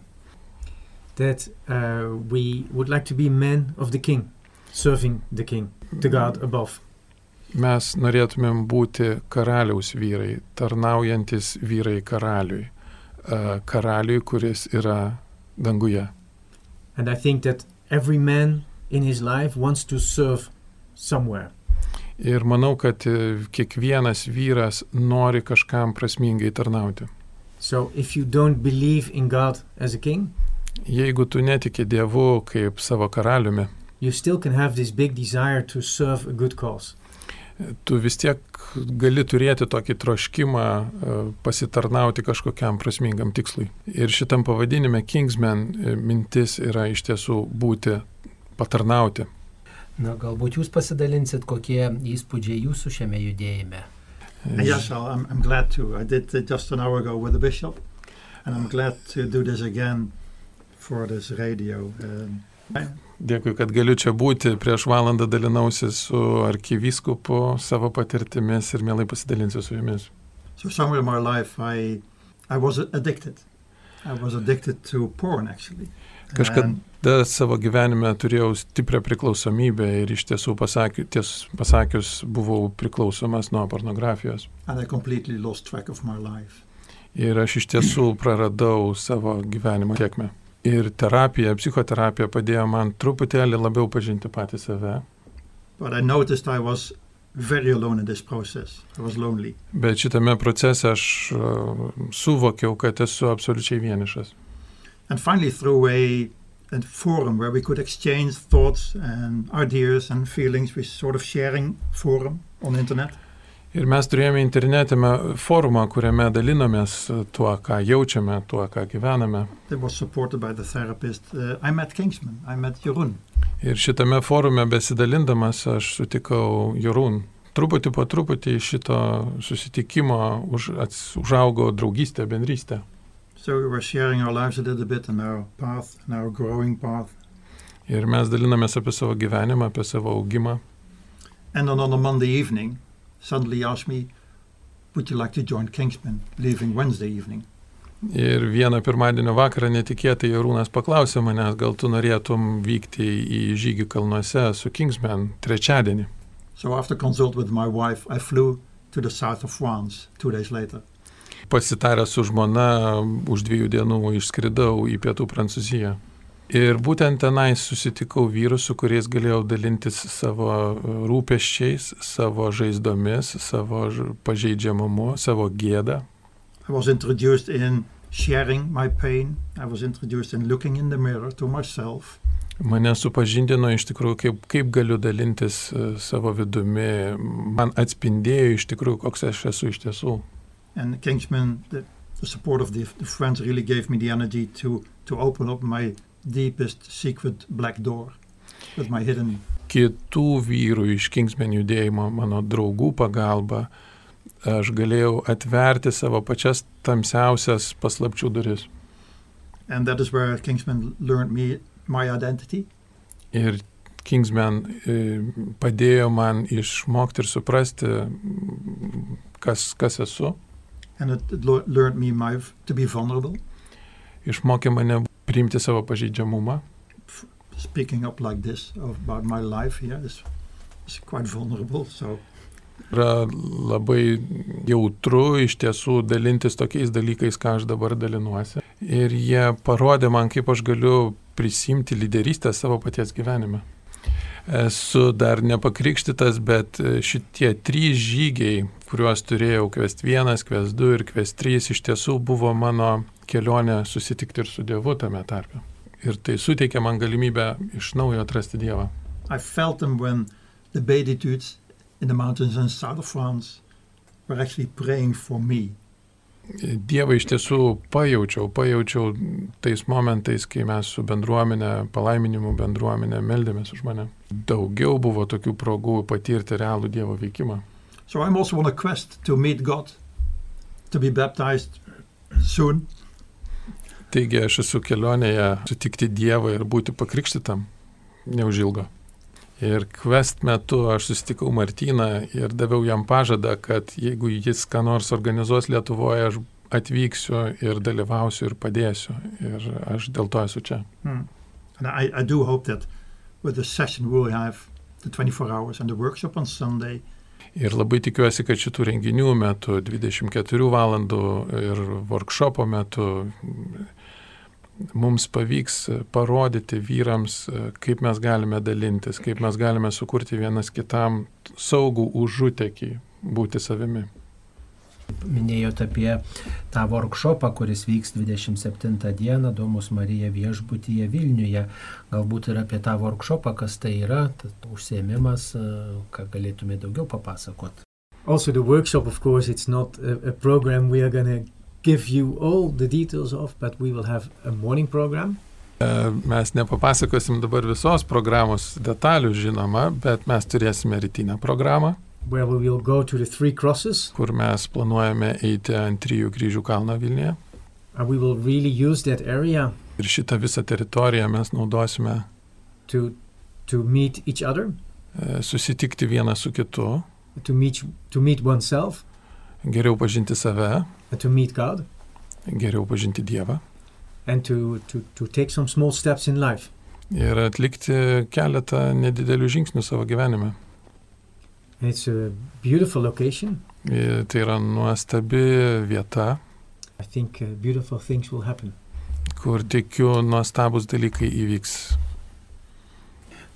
[SPEAKER 2] That uh, we would like to be men of the king, serving the king, the God above.
[SPEAKER 3] Mes norėtumėm būti karaliaus vyrai, tarnaujantis vyrai karaliui, E, karaliui, kuris yra danguje.
[SPEAKER 2] And I think that every man in his life wants to serve somewhere.
[SPEAKER 3] Ir manau, kad e, kiekvienas vyras nori kažkam prasmingai tarnauti.
[SPEAKER 2] So if you don't believe in God as a king,
[SPEAKER 3] Jeigu tu netiki Dievu kaip savo karaliumi,
[SPEAKER 2] you still can have this big desire to serve a good cause.
[SPEAKER 3] tu vis tiek gali turėti tokį troškimą e, pasitarnauti kažkokiam prasmingam tikslui. Ir šitam pavadinime Kingsman e, mintis yra iš tiesų būti patarnauti.
[SPEAKER 1] Na, galbūt jūs pasidalinsit, kokie įspūdžiai jūsų šiame judėjime.
[SPEAKER 5] And yes, I'll- I'm, I'm glad to. I did it just an hour ago with the bishop, and I'm glad to do this again for this radio. Um,
[SPEAKER 3] Dėkui, kad galiu čia būti. Prieš valandą dalinausi su arkivyskupu savo patirtimis ir mielai pasidalinsiu su jumis.
[SPEAKER 5] so somewhere in my life, I I was addicted. I was addicted to porn actually.
[SPEAKER 3] Kažkad-
[SPEAKER 5] And
[SPEAKER 3] Da, savo gyvenime turėjau stiprią priklausomybę ir iš tiesų pasakius, ties, pasakius buvau priklausomas nuo pornografijos.
[SPEAKER 5] and I completely lost track of my life.
[SPEAKER 3] Ir aš iš tiesų praradau savo gyvenimo tiekmę. Ir terapija, psichoterapija padėjo man truputėlį labiau pažinti patį save,
[SPEAKER 5] But I noticed I was very alone in this process. I was lonely.
[SPEAKER 3] bet šitame procese aš e, suvokiau, kad esu absoliučiai vienišas.
[SPEAKER 5] And finally, through a, a forum where we could exchange thoughts and ideas and feelings, we sort of sharing forum on the internet.
[SPEAKER 3] Ir mes turėjome internetinę forumą, kuriame dalinomės tuo, ką jaučiame, tuo, ką gyvename.
[SPEAKER 5] That was supported by the therapist. Uh, I met Kingsman. I met Jeroen.
[SPEAKER 3] Ir šitame forume besidalindamas aš sutikau Jorūn. Truputį po truputį iš šito susitikimo už, ats, užaugo draugystė, bendrystė.
[SPEAKER 5] So we were sharing our lives a little bit and our path and our growing path.
[SPEAKER 3] Ir mes dalinamės apie savo gyvenimą, apie savo augimą.
[SPEAKER 5] And then on a Monday evening, suddenly he asked me, "Would you like to join Kingsman?" Leaving Wednesday evening.
[SPEAKER 3] Ir vieną pirmadienio vakarą netikėtai Jarūnas paklausė manęs, gal tu norėtum vykti į žygį kalnuose su Kingsman trečiadienį.
[SPEAKER 5] So after consult with my wife, I flew to the south of France two days later.
[SPEAKER 3] Pasitaręs su žmona, už dviejų dienų išskridau į pietų Prancūziją. Ir būtent tenai susitikau vyrus, su kuriais galėjau dalintis savo rūpeščiais, savo žaizdomis, savo ž- pažeidžiamumu, savo gėdą.
[SPEAKER 5] I was introduced in sharing my pain. I was introduced in looking in the mirror to myself.
[SPEAKER 3] Mane supažindino iš tikrųjų, kaip, kaip galiu dalintis e, savo vidumi. Man atspindėjo iš tikrųjų, koks aš esu iš tiesų.
[SPEAKER 5] And Kingsman, the, the support of the, the friends really gave me the energy to, to open up my deepest secret black door with my hidden.
[SPEAKER 3] Kitų vyrų iš Kingsmen judėjimo, mano draugų pagalba, aš galėjau atverti savo pačias tamsiausias paslapčių duris.
[SPEAKER 5] And that is where Kingsman learned me my identity.
[SPEAKER 3] Ir Kingsman e, padėjo man išmokti ir suprasti, m, kas, kas esu,
[SPEAKER 5] And it, it lear- learned me my, v- to be vulnerable,
[SPEAKER 3] išmokė mane priimti savo pažeidžiamumą.
[SPEAKER 5] speaking up like this about my life here is, is quite vulnerable. So
[SPEAKER 3] yra labai jautru iš tiesų dalintis tokiais dalykais, ką aš dabar dalinuosi. Ir jie parodė man, kaip aš galiu prisimti lyderystę savo paties gyvenime. Esu dar nepakrikštytas, bet e, šitie trys žygiai, kuriuos turėjau, kvest vienas, kvest du ir kvest trys, iš tiesų buvo mano kelionę susitikti ir su Dievu tame tarpe. Ir tai suteikia man galimybę iš naujo atrasti Dievą.
[SPEAKER 5] I felt them when the Beatitudes in the mountains in south of France were actually praying for me.
[SPEAKER 3] Dievą iš tiesų pajaučiau, pajaučiau tais momentais, kai mes su bendruomenė, palaiminimų bendruomenė meldėmės už mane. Daugiau buvo tokių progų patirti realų Dievo veikimą.
[SPEAKER 5] So I'm also on a quest to meet God, to be baptized soon.
[SPEAKER 3] Taigi aš esu kelionėje sutikti Dievą ir būti pakrikštytam neužilgo. Ir quest metu aš susitikau Martyną ir daviau jam pažadą, kad jeigu jis ką nors organizuos Lietuvoje, aš atvyksiu ir dalyvausiu ir padėsiu. Ir aš dėl to esu čia.
[SPEAKER 5] Hmm. And I, I do hope that with the session we'll have the 24 hours and the workshop on Sunday,
[SPEAKER 3] Ir labai tikiuosi, kad šitų renginių metu, 24 valandų ir workshopo metu, mums pavyks parodyti vyrams, kaip mes galime dalintis, kaip mes galime sukurti vienas kitam saugų užutekį būti savimi.
[SPEAKER 1] Minėjote apie tą workshopą, kuris vyks 27 dieną Domus Marija viešbutyje Vilniuje. Galbūt ir apie tą workshopą, kas tai yra, tad užsiemimas, e, ką galėtume daugiau papasakot.
[SPEAKER 2] Also, the workshop, of course, it's not a, a program we are going to give you all the details of, but we will have a morning program.
[SPEAKER 3] E, Mes nepapasakosim dabar visos programos detalių, žinoma, bet mes turėsime rytinę programą,
[SPEAKER 2] where we will go to the three crosses
[SPEAKER 3] kur mes planuojame eiti ant trijų kryžių kalną Vilniuje.
[SPEAKER 2] and we will really use that area
[SPEAKER 3] Ir šitą visą teritoriją mes naudosime
[SPEAKER 2] to to meet each other
[SPEAKER 3] e, susitikti vieną su kitu,
[SPEAKER 2] to meet to meet oneself
[SPEAKER 3] geriau pažinti save,
[SPEAKER 2] and to meet God
[SPEAKER 3] geriau pažinti Dievą
[SPEAKER 2] and to to to take some small steps in life
[SPEAKER 3] ir atlikti keletą nedidelių žingsnių savo gyvenime.
[SPEAKER 2] and it's a beautiful location
[SPEAKER 3] Ir Tai yra nuostabi vieta,
[SPEAKER 2] I think uh, beautiful things will happen
[SPEAKER 3] kur tikiu nuostabus dalykai įvyks.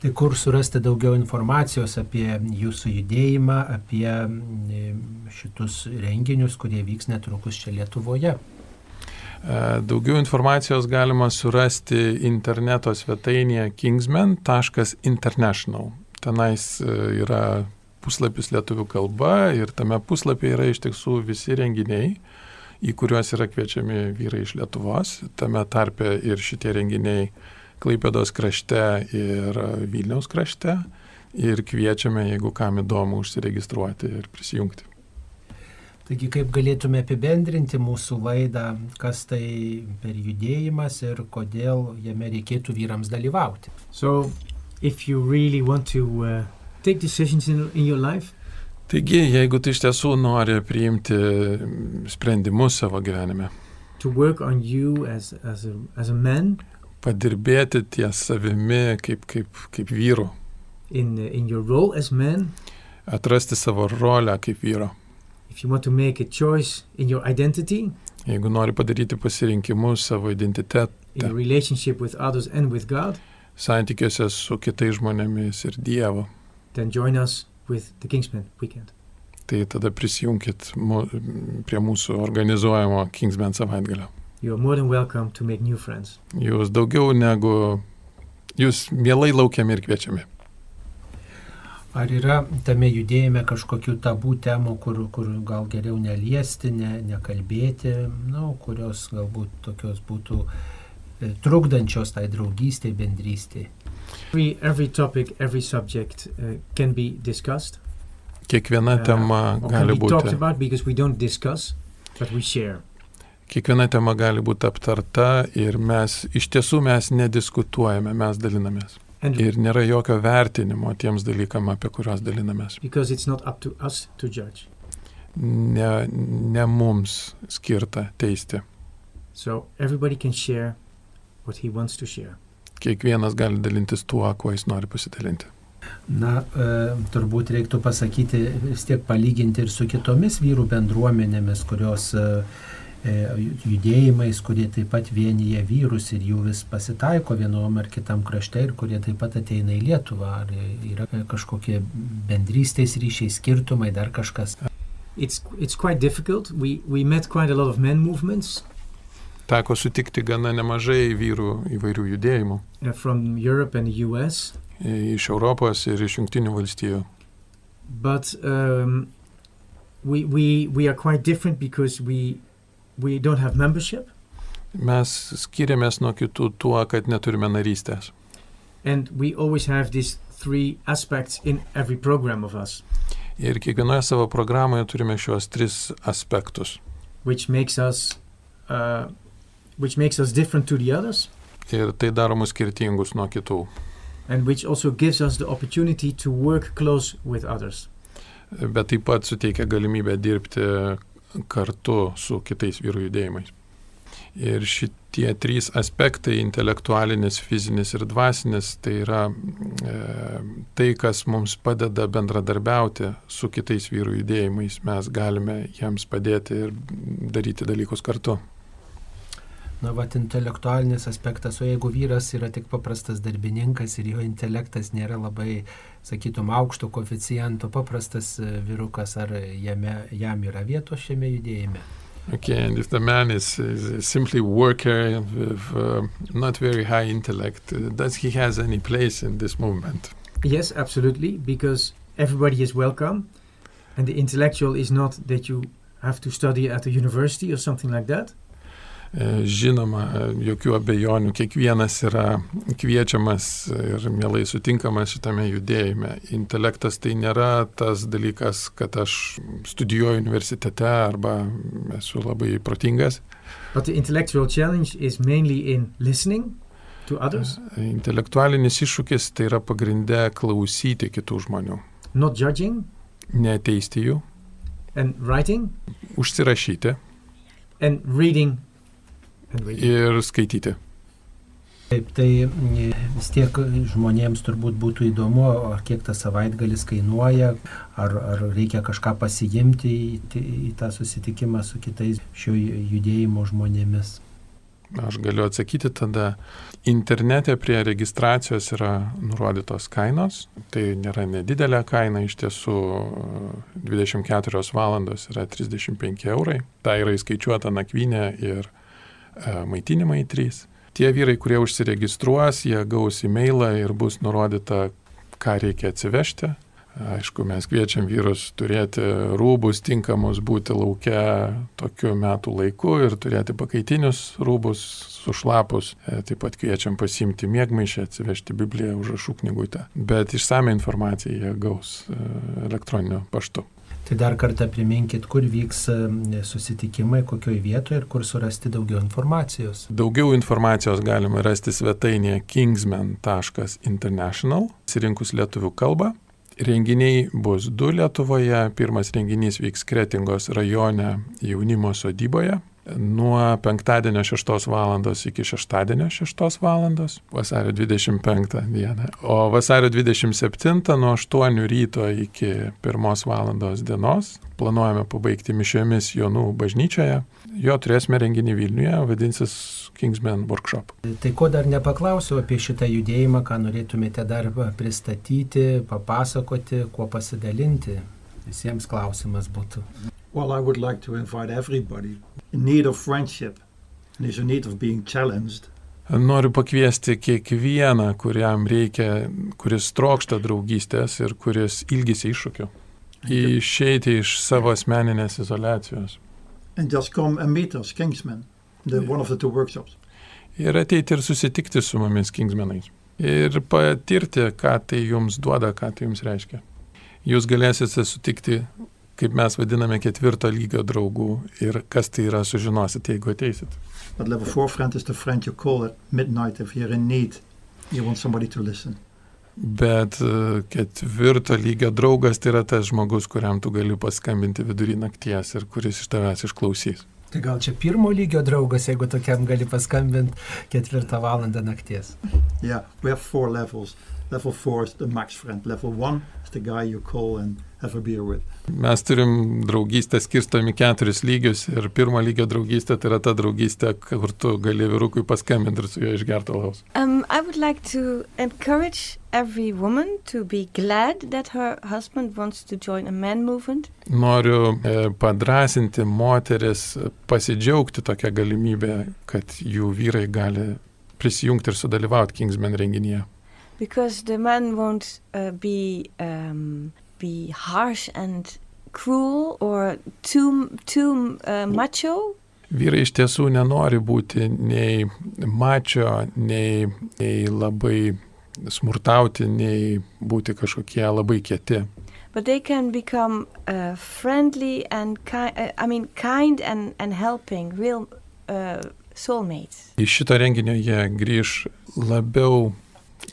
[SPEAKER 1] Tai kur surasti daugiau informacijos apie jūsų judėjimą, apie mm, šitus renginius, kurie vyks netrukus čia Lietuvoje.
[SPEAKER 3] E, Daugiau informacijos galima surasti interneto svetainėje kingsman.international. Tenais e, yra puslapis lietuvių kalba ir tame puslapyje yra iš tiesų visi renginiai, į kuriuos yra kviečiami vyrai iš Lietuvos. Tame tarpe ir šitie renginiai Klaipėdos krašte ir e, Vilniaus krašte. Ir kviečiame, jeigu kam įdomu, užsiregistruoti ir prisijungti.
[SPEAKER 1] Taigi kaip galėtume apibendrinti mūsų laidą, kas tai per judėjimas ir kodėl jame reikėtų vyrams dalyvauti.
[SPEAKER 2] so if you really want to uh, take decisions in, in your life
[SPEAKER 3] Taigi, jeigu tu iš tiesų nori priimti sprendimus savo gyvenime,
[SPEAKER 2] to work on you as as a, as a man
[SPEAKER 3] padirbėti ties savimi kaip, kaip, kaip vyru,
[SPEAKER 2] in uh, in your role as man
[SPEAKER 3] atrasti savo rolę kaip vyro,
[SPEAKER 2] if you want to make a choice in your identity
[SPEAKER 3] jeigu nori padaryti pasirinkimus savo identitetą
[SPEAKER 2] in your relationship with others and with God
[SPEAKER 3] santykiuose su kitais žmonėmis ir Dievu,
[SPEAKER 2] then join us with the Kingsman weekend
[SPEAKER 3] tai tada prisijunkit mu, prie mūsų organizuojamo Kingsman savaitgalio.
[SPEAKER 2] you are more than welcome to make new friends
[SPEAKER 3] Jūs daugiau negu, jūs mielai laukiami ir kviečiami.
[SPEAKER 1] Ar yra tame judėjime kažkokių tabų temų, kur, kur gal geriau neliesti, ne, nekalbėti, nu, kurios galbūt tokios būtų e, trukdančios tai draugystiai, bendrystiai.
[SPEAKER 2] every every topic every subject uh, can be discussed
[SPEAKER 3] Kiekviena
[SPEAKER 2] uh,
[SPEAKER 3] tema
[SPEAKER 2] or can
[SPEAKER 3] gali
[SPEAKER 2] be talked
[SPEAKER 3] būti.
[SPEAKER 2] about because we don't discuss but we share
[SPEAKER 3] Kiekviena tema gali būti aptarta ir mes iš tiesų mes nediskutuojame, mes dalinamės.
[SPEAKER 2] and
[SPEAKER 3] Ir nėra jokio vertinimo tiems dalykam, apie kuriuos dalinamės.
[SPEAKER 2] because it's not up to us to judge
[SPEAKER 3] Ne, ne mums skirta teisti.
[SPEAKER 2] so everybody can share what he wants to share
[SPEAKER 3] Kiekvienas gali dalintis tuo, kuo jis nori pasidalinti.
[SPEAKER 1] Na, e, turbūt reiktų pasakyti, vis tiek palyginti ir su kitomis vyrų bendruomenėmis, kurios e, e, judėjimais, kurie taip pat vienyje vyrus ir jų vis pasitaiko vienom ar kitam krašte ir kurie taip pat ateina į Lietuvą. Ar yra kažkokie bendrystės ryšiai, skirtumai, dar kažkas.
[SPEAKER 2] it's it's quite difficult we we met quite a lot of men movements
[SPEAKER 3] Teko sutikti gana nemažai vyrų įvairių judėjimų
[SPEAKER 2] uh, from Europe and the US.
[SPEAKER 3] e, iš Europos ir iš Junktinių valstijų.
[SPEAKER 2] But um, we, we, we are quite different because we, we don't have membership
[SPEAKER 3] Mes skiriamės nuo kitų tuo, kad neturime narystės.
[SPEAKER 2] and we always have these three aspects in every program of us,
[SPEAKER 3] Ir kiekvienoje savo programoje turime šios tris aspektus.
[SPEAKER 2] which makes us, uh, which makes us different to the others
[SPEAKER 3] Ir tai daro mus skirtingus nuo kitų.
[SPEAKER 2] and which also gives us the opportunity to work close with others.
[SPEAKER 3] Bet taip pat suteikia galimybę dirbti kartu su kitais vyrų judėjimais. Ir šitie trys aspektai - intelektualinis, fizinis ir dvasinis - tai yra e, tai, kas mums padeda bendradarbiauti su kitais vyrų judėjimais. Mes galime jiems padėti ir daryti dalykus kartu.
[SPEAKER 1] Na, va, intelektualinis aspektas, o jeigu vyras yra tik paprastas darbininkas ir jo intelektas nėra labai, sakytum, aukšto koficijento, paprastas e, vyrukas, ar jame, jam yra vietos šiame judėjime?
[SPEAKER 3] Okay, and if the man is, is simply worker with uh, not very high intellect, uh, does he has any place in this movement?
[SPEAKER 2] Yes, absolutely, because everybody is welcome, and the intellectual is not that you have to study at a university or something like that.
[SPEAKER 3] E, Žinoma, e, jokių abejonių, kiekvienas yra kviečiamas ir mielai sutinkamas šitame judėjime. Intelektas tai nėra tas dalykas, kad aš studijuoju universitete arba esu labai protingas.
[SPEAKER 2] But the intellectual challenge is mainly in listening to others,
[SPEAKER 3] Uh-huh. Intelektualinis iššūkis tai yra pagrindę klausyti kitų žmonių,
[SPEAKER 2] not judging,
[SPEAKER 3] neteisti jų,
[SPEAKER 2] and writing,
[SPEAKER 3] užsirašyti
[SPEAKER 2] and reading. And reading.
[SPEAKER 3] ir skaityti.
[SPEAKER 1] Taip, tai mm, vis tiek žmonėms turbūt būtų įdomu, ar kiek tas savaitgalis kainuoja, ar, ar reikia kažką pasijimti į, t- į tą susitikimą su kitais šio judėjimo žmonėmis.
[SPEAKER 3] Aš galiu atsakyti tada. Internete prie registracijos yra nurodytos kainos. Tai nėra nedidelė kaina, iš tiesų e, 24 valandos yra 35 eurai. Tai yra įskaičiuota nakvynė ir e, maitinimai 3. Tie vyrai, kurie užsiregistruos, jie gaus e-mailą ir bus nurodyta, ką reikia atsivežti. Aišku, mes kviečiam vyrus turėti rūbus tinkamus būti laukia tokiu metų laiku ir turėti pakaitinius rūbus sušlapus. E, Taip pat kviečiam pasimti mėgmaišę, atsivežti Bibliją užrašų knygutę. Bet išsame informaciją jie gaus e, elektroniniu paštu.
[SPEAKER 1] Tai dar kartą priminkit, kur vyks mm, susitikimai, kokioje vietoje ir kur surasti daugiau informacijos.
[SPEAKER 3] Daugiau informacijos galima rasti svetainėje kingsman.international, sirinkus lietuvių kalbą. Renginiai bus du Lietuvoje. Pirmas renginys vyks Kretingos rajone jaunimo sodyboje nuo penktadienio 6 val. iki šeštadienio 6 val. vasario 25 dieną. O vasario 27 nuo 8 ryto iki 1 val. dienos planuojame pabaigti mišiomis Jonų bažnyčioje. Jo turėsime renginį Vilniuje, vadinsis Kingsman Workshop.
[SPEAKER 1] Tai ko dar nepaklausiau apie šitą judėjimą, ką norėtumėte dar va, pristatyti, papasakoti, kuo pasidalinti. Visiems klausimas būtų.
[SPEAKER 5] Well, I would like to invite everybody in need of friendship and is in need of being challenged
[SPEAKER 3] Noriu pakviesti kiekvieną, kuriam reikia, kuris trokšta draugystės ir kuris ilgisi iššūkių, išeiti iš savo asmeninės izolacijos
[SPEAKER 5] and just come and meet us, Kingsman, the, one of the two workshops.
[SPEAKER 3] ir ateiti ir susitikti su mumis kingsmenais ir patirti, ką tai jums duoda, ką tai jums reiškia. Jūs galėsite sutikti, kaip mes vadiname, ketvirto lygio draugų ir kas tai yra sužinosite, jeigu ateisit.
[SPEAKER 5] But level four friend is the friend you call at midnight if you're in need. You want somebody to listen.
[SPEAKER 3] Bet e, ketvirto lygio draugas tai yra tas žmogus, kuriam tu gali paskambinti vidurį nakties ir kuris iš tavęs išklausys.
[SPEAKER 1] Tai gal čia pirmo lygio draugas, jeigu tokiam gali paskambinti ketvirtą valandą nakties.
[SPEAKER 5] Yeah, we have four levels. Uh, Level 4 is the max friend. Level 1 is the guy you call and have a beer with.
[SPEAKER 3] Mes turim draugystę skirstomi keturis lygius ir pirmo lygio draugystė tai yra ta draugystė, kur tu gali vyrukui paskambinti ir su juo išgerti alaus.
[SPEAKER 4] Um, I would like to encourage every woman to be glad that her husband wants to join a man movement.
[SPEAKER 3] Noriu e, padrasinti moteris pasidžiaugti tokią galimybę, kad jų vyrai gali prisijungti ir sudalyvauti Kingsman renginyje.
[SPEAKER 4] because the man won't uh, be um, be harsh and cruel or too too uh, macho.
[SPEAKER 3] Vyrai iš tiesų nenori būti nei mačio, nei, nei labai smurtauti, nei būti kažkokie labai kieti.
[SPEAKER 4] But they can become uh, friendly and ki- uh, I mean kind and and helping real uh, soulmates.
[SPEAKER 3] Iš šito renginio jie grįž labiau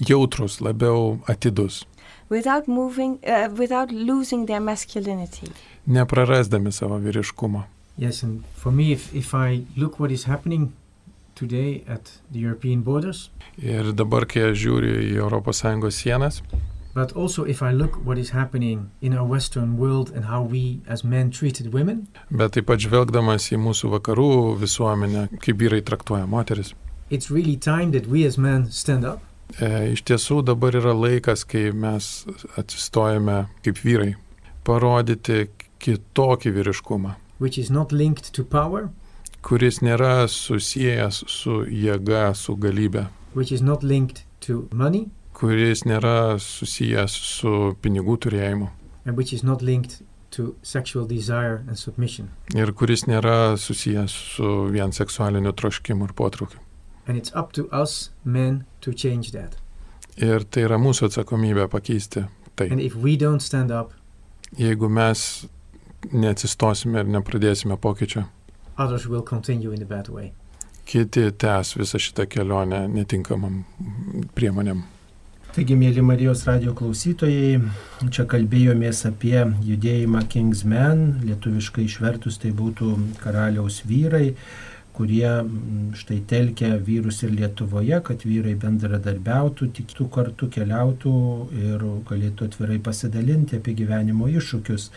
[SPEAKER 3] jautrus, labiau atidus,
[SPEAKER 4] Without moving, uh, without losing their masculinity.
[SPEAKER 3] neprarasdami savo vyriškumo.
[SPEAKER 2] Yes, and for me, if, if I look what is happening today at the European borders,
[SPEAKER 3] Ir dabar, kai aš žiūriu į ES sienas,
[SPEAKER 2] but also if I look what is happening in our Western world and how we as men treated women,
[SPEAKER 3] bet taip pat žvelgdamas į mūsų vakarų visuomenę, kaip vyrai traktuoja moteris,
[SPEAKER 2] it's really time that we as men stand up
[SPEAKER 3] e, iš tiesų dabar yra laikas, kai mes atsistojame kaip vyrai, parodyti kitokį vyriškumą,
[SPEAKER 2] which is not linked to power,
[SPEAKER 3] kuris nėra susijęs su jėga, su galybė,
[SPEAKER 2] which is not linked to money,
[SPEAKER 3] kuris nėra susijęs su pinigų turėjimu.
[SPEAKER 2] and which is not linked to sexual desire and submission.
[SPEAKER 3] ir kuris nėra susijęs su vien seksualiniu troškimu ir potraukiu.
[SPEAKER 2] And it's up to us men to change that.
[SPEAKER 3] Ir tai yra mūsų atsakomybė pakeisti.
[SPEAKER 2] And if we don't stand up,
[SPEAKER 3] Jeigu mes neatsistosime ir nepradėsime pokyčio,
[SPEAKER 2] others will continue in the bad way.
[SPEAKER 3] kiti tęs visą šitą kelionę netinkamam priemonėm.
[SPEAKER 1] Taigi, mėly Marijos radio klausytojai, čia kalbėjomės apie judėjimą Kingsmen, lietuviškai išvertus tai būtų karaliaus vyrai, kurie mm, štai telkia vyrus ir Lietuvoje, kad vyrai bendradarbiautų, tiktų kartu, keliautų ir galėtų atvirai pasidalinti apie gyvenimo iššūkius.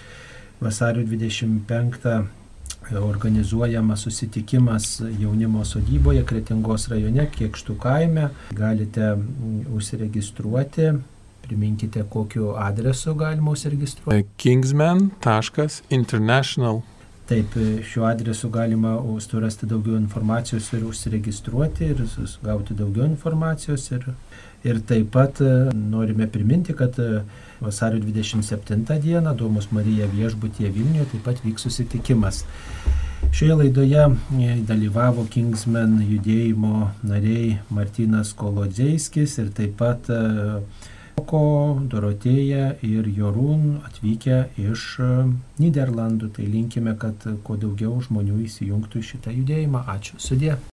[SPEAKER 1] Vasario 25 organizuojamas susitikimas jaunimo sodyboje Kretingos rajone, Kiekštų kaime. Galite mm, užsiregistruoti. Priminkite, kokiu adresu galima užsiregistruoti.
[SPEAKER 3] Kingsman.international
[SPEAKER 1] Taip, e, šiuo adresu galima u- surasti daugiau informacijos ir užsiregistruoti ir sus- gauti daugiau informacijos. Ir, ir taip pat e, norime priminti, kad e, vasario 27 dieną Domus Marija viešbutyje Vilniuje taip pat vyks susitikimas. Šioje laidoje e, dalyvavo Kingsman judėjimo nariai Martinas Kolodzeiskis ir taip pat e, Ko, Dorotėja ir Jorūn atvykę iš e, Niderlandų. Tai linkime, kad e, kuo daugiau žmonių įsijungtų į šitą judėjimą. Ačiū sudė.